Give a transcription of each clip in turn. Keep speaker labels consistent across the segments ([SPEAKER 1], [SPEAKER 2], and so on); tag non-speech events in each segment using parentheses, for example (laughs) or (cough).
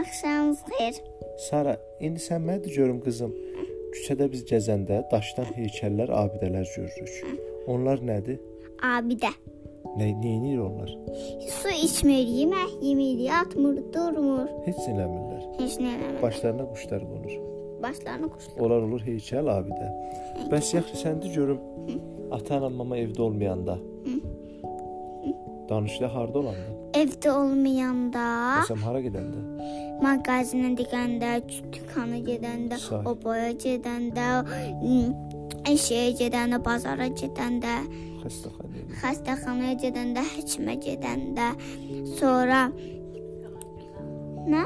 [SPEAKER 1] Axşamınız xeyir.
[SPEAKER 2] Sara, indi sən mənə də görüm qızım. Küçədə biz gəzəndə daşdan heykəllər, abidələr görürük. Onlar nədir?
[SPEAKER 1] Abidə.
[SPEAKER 2] Nə nəyinir onlar?
[SPEAKER 1] Su içmir, yemək yemir, yatmır, durmur.
[SPEAKER 2] Heç nə eləmirlər.
[SPEAKER 1] Heç nə eləmir.
[SPEAKER 2] Başlarına quşlar qonur.
[SPEAKER 1] Başlarını quşlar.
[SPEAKER 2] Onlar olur heykəl, abidə. Bəs yaxşı sən də görüm. Ata-anan mama evdə olmayanda. Danışda harda olanda?
[SPEAKER 1] Evdə olmayanda,
[SPEAKER 2] Məsələn hara gedəndə?
[SPEAKER 1] mağazinə gedəndə, dükana gedəndə,
[SPEAKER 2] Sahi.
[SPEAKER 1] obaya gedəndə, m, eşəyə gedəndə, bazara gedəndə,
[SPEAKER 2] Xəstəxanaya.
[SPEAKER 1] xəstəxanaya gedəndə, həkimə gedəndə, sonra nə?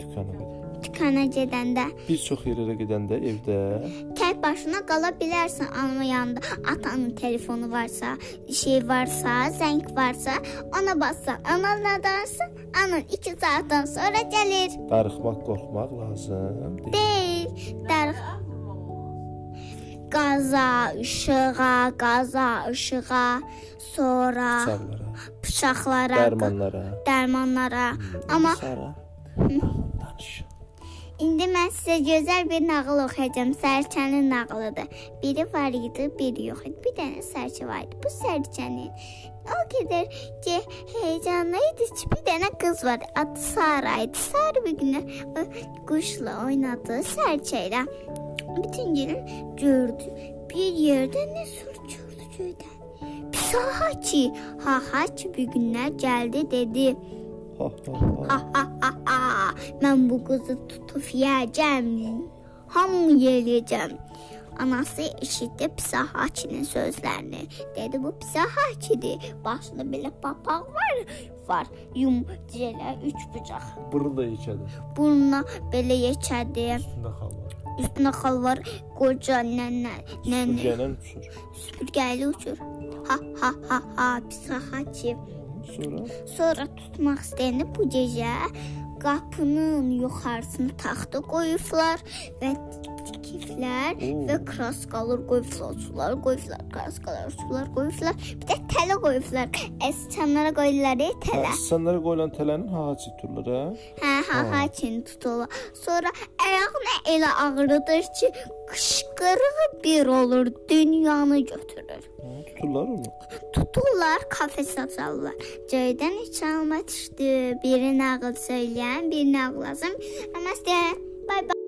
[SPEAKER 2] Dükana gedəndə.
[SPEAKER 1] Dükana gedəndə
[SPEAKER 2] Bir çox yerlərə gedəndə evdə
[SPEAKER 1] tək başına qala bilərsən amma yanında atanın telefonu varsa, şey varsa, zəng varsa, ona bassan, ananla danışsan, anan 2 saatdan sonra gəlir.
[SPEAKER 2] darıxmaq, qorxmaq lazım deyil.
[SPEAKER 1] Deyil, darx. Qaza, işığa, qaza, işığa, sonra
[SPEAKER 2] Sağlara,
[SPEAKER 1] bıçaqlara,
[SPEAKER 2] dərmanlara.
[SPEAKER 1] dərmanlara. Amma
[SPEAKER 2] Sara. Danış.
[SPEAKER 1] İndi mən sizə gözəl bir nağıl oxuyacağam. Sərçənin nağılıdır. Biri var idi, biri yox idi. Bir dənə sərçə var idi. Bu sərçənin o qədər ki, heyecanlı idi ki, bir dənə qız var. Adı Sara idi. Sara bir gün o quşla oynadı, sərçə ilə. Bütün günü gördü. Bir yerdə nə sürçürdü göydən. Pis ha ki, ha ha ki bir günlər gəldi dedi.
[SPEAKER 2] Ha ha ha.
[SPEAKER 1] Ah. Aha, (laughs) mən bu qızı tutub yeyəcəm. Hamı yeyəcəm. Anası eşitdi Psahakinin sözlərini. Dedi bu Psahakidir. Başında belə papaq var, var. Yum celə üç bucaq.
[SPEAKER 2] Burun da yekədir.
[SPEAKER 1] Burnuna belə yekədir.
[SPEAKER 2] Üstündə xal var.
[SPEAKER 1] Üstünə xal var qoca nənə, nənə
[SPEAKER 2] Sürgənən uçur.
[SPEAKER 1] süpürgəli uçur. Ha ha ha ha Psahaki.
[SPEAKER 2] Sonra
[SPEAKER 1] Sonra tutmaq istəyəndə bu gecə qapının yuxarısını taxta qoyublar və tikiflər
[SPEAKER 2] Oo.
[SPEAKER 1] və kraskalar qoyublar, sular qoyublar, kraskalar, sular qoyublar. Bir də tələ qoyublar. Əsçanlara qoyurlar e, tələ.
[SPEAKER 2] Əsənlərə qoyulan tələnin haçı turları, hə?
[SPEAKER 1] Hə, hə, hə, çin tuturlar. Sonra ayağına elə ağrıdır ki, qışqırığı bir olur, dünyanı götürür.
[SPEAKER 2] Hı, Tuturlar onu.
[SPEAKER 1] Tuturlar kafe satırlar. Cöydən üç alma düşdü. Biri nağıl söyləyən, bir nağıl lazım. Amma istəyən. Bay bay.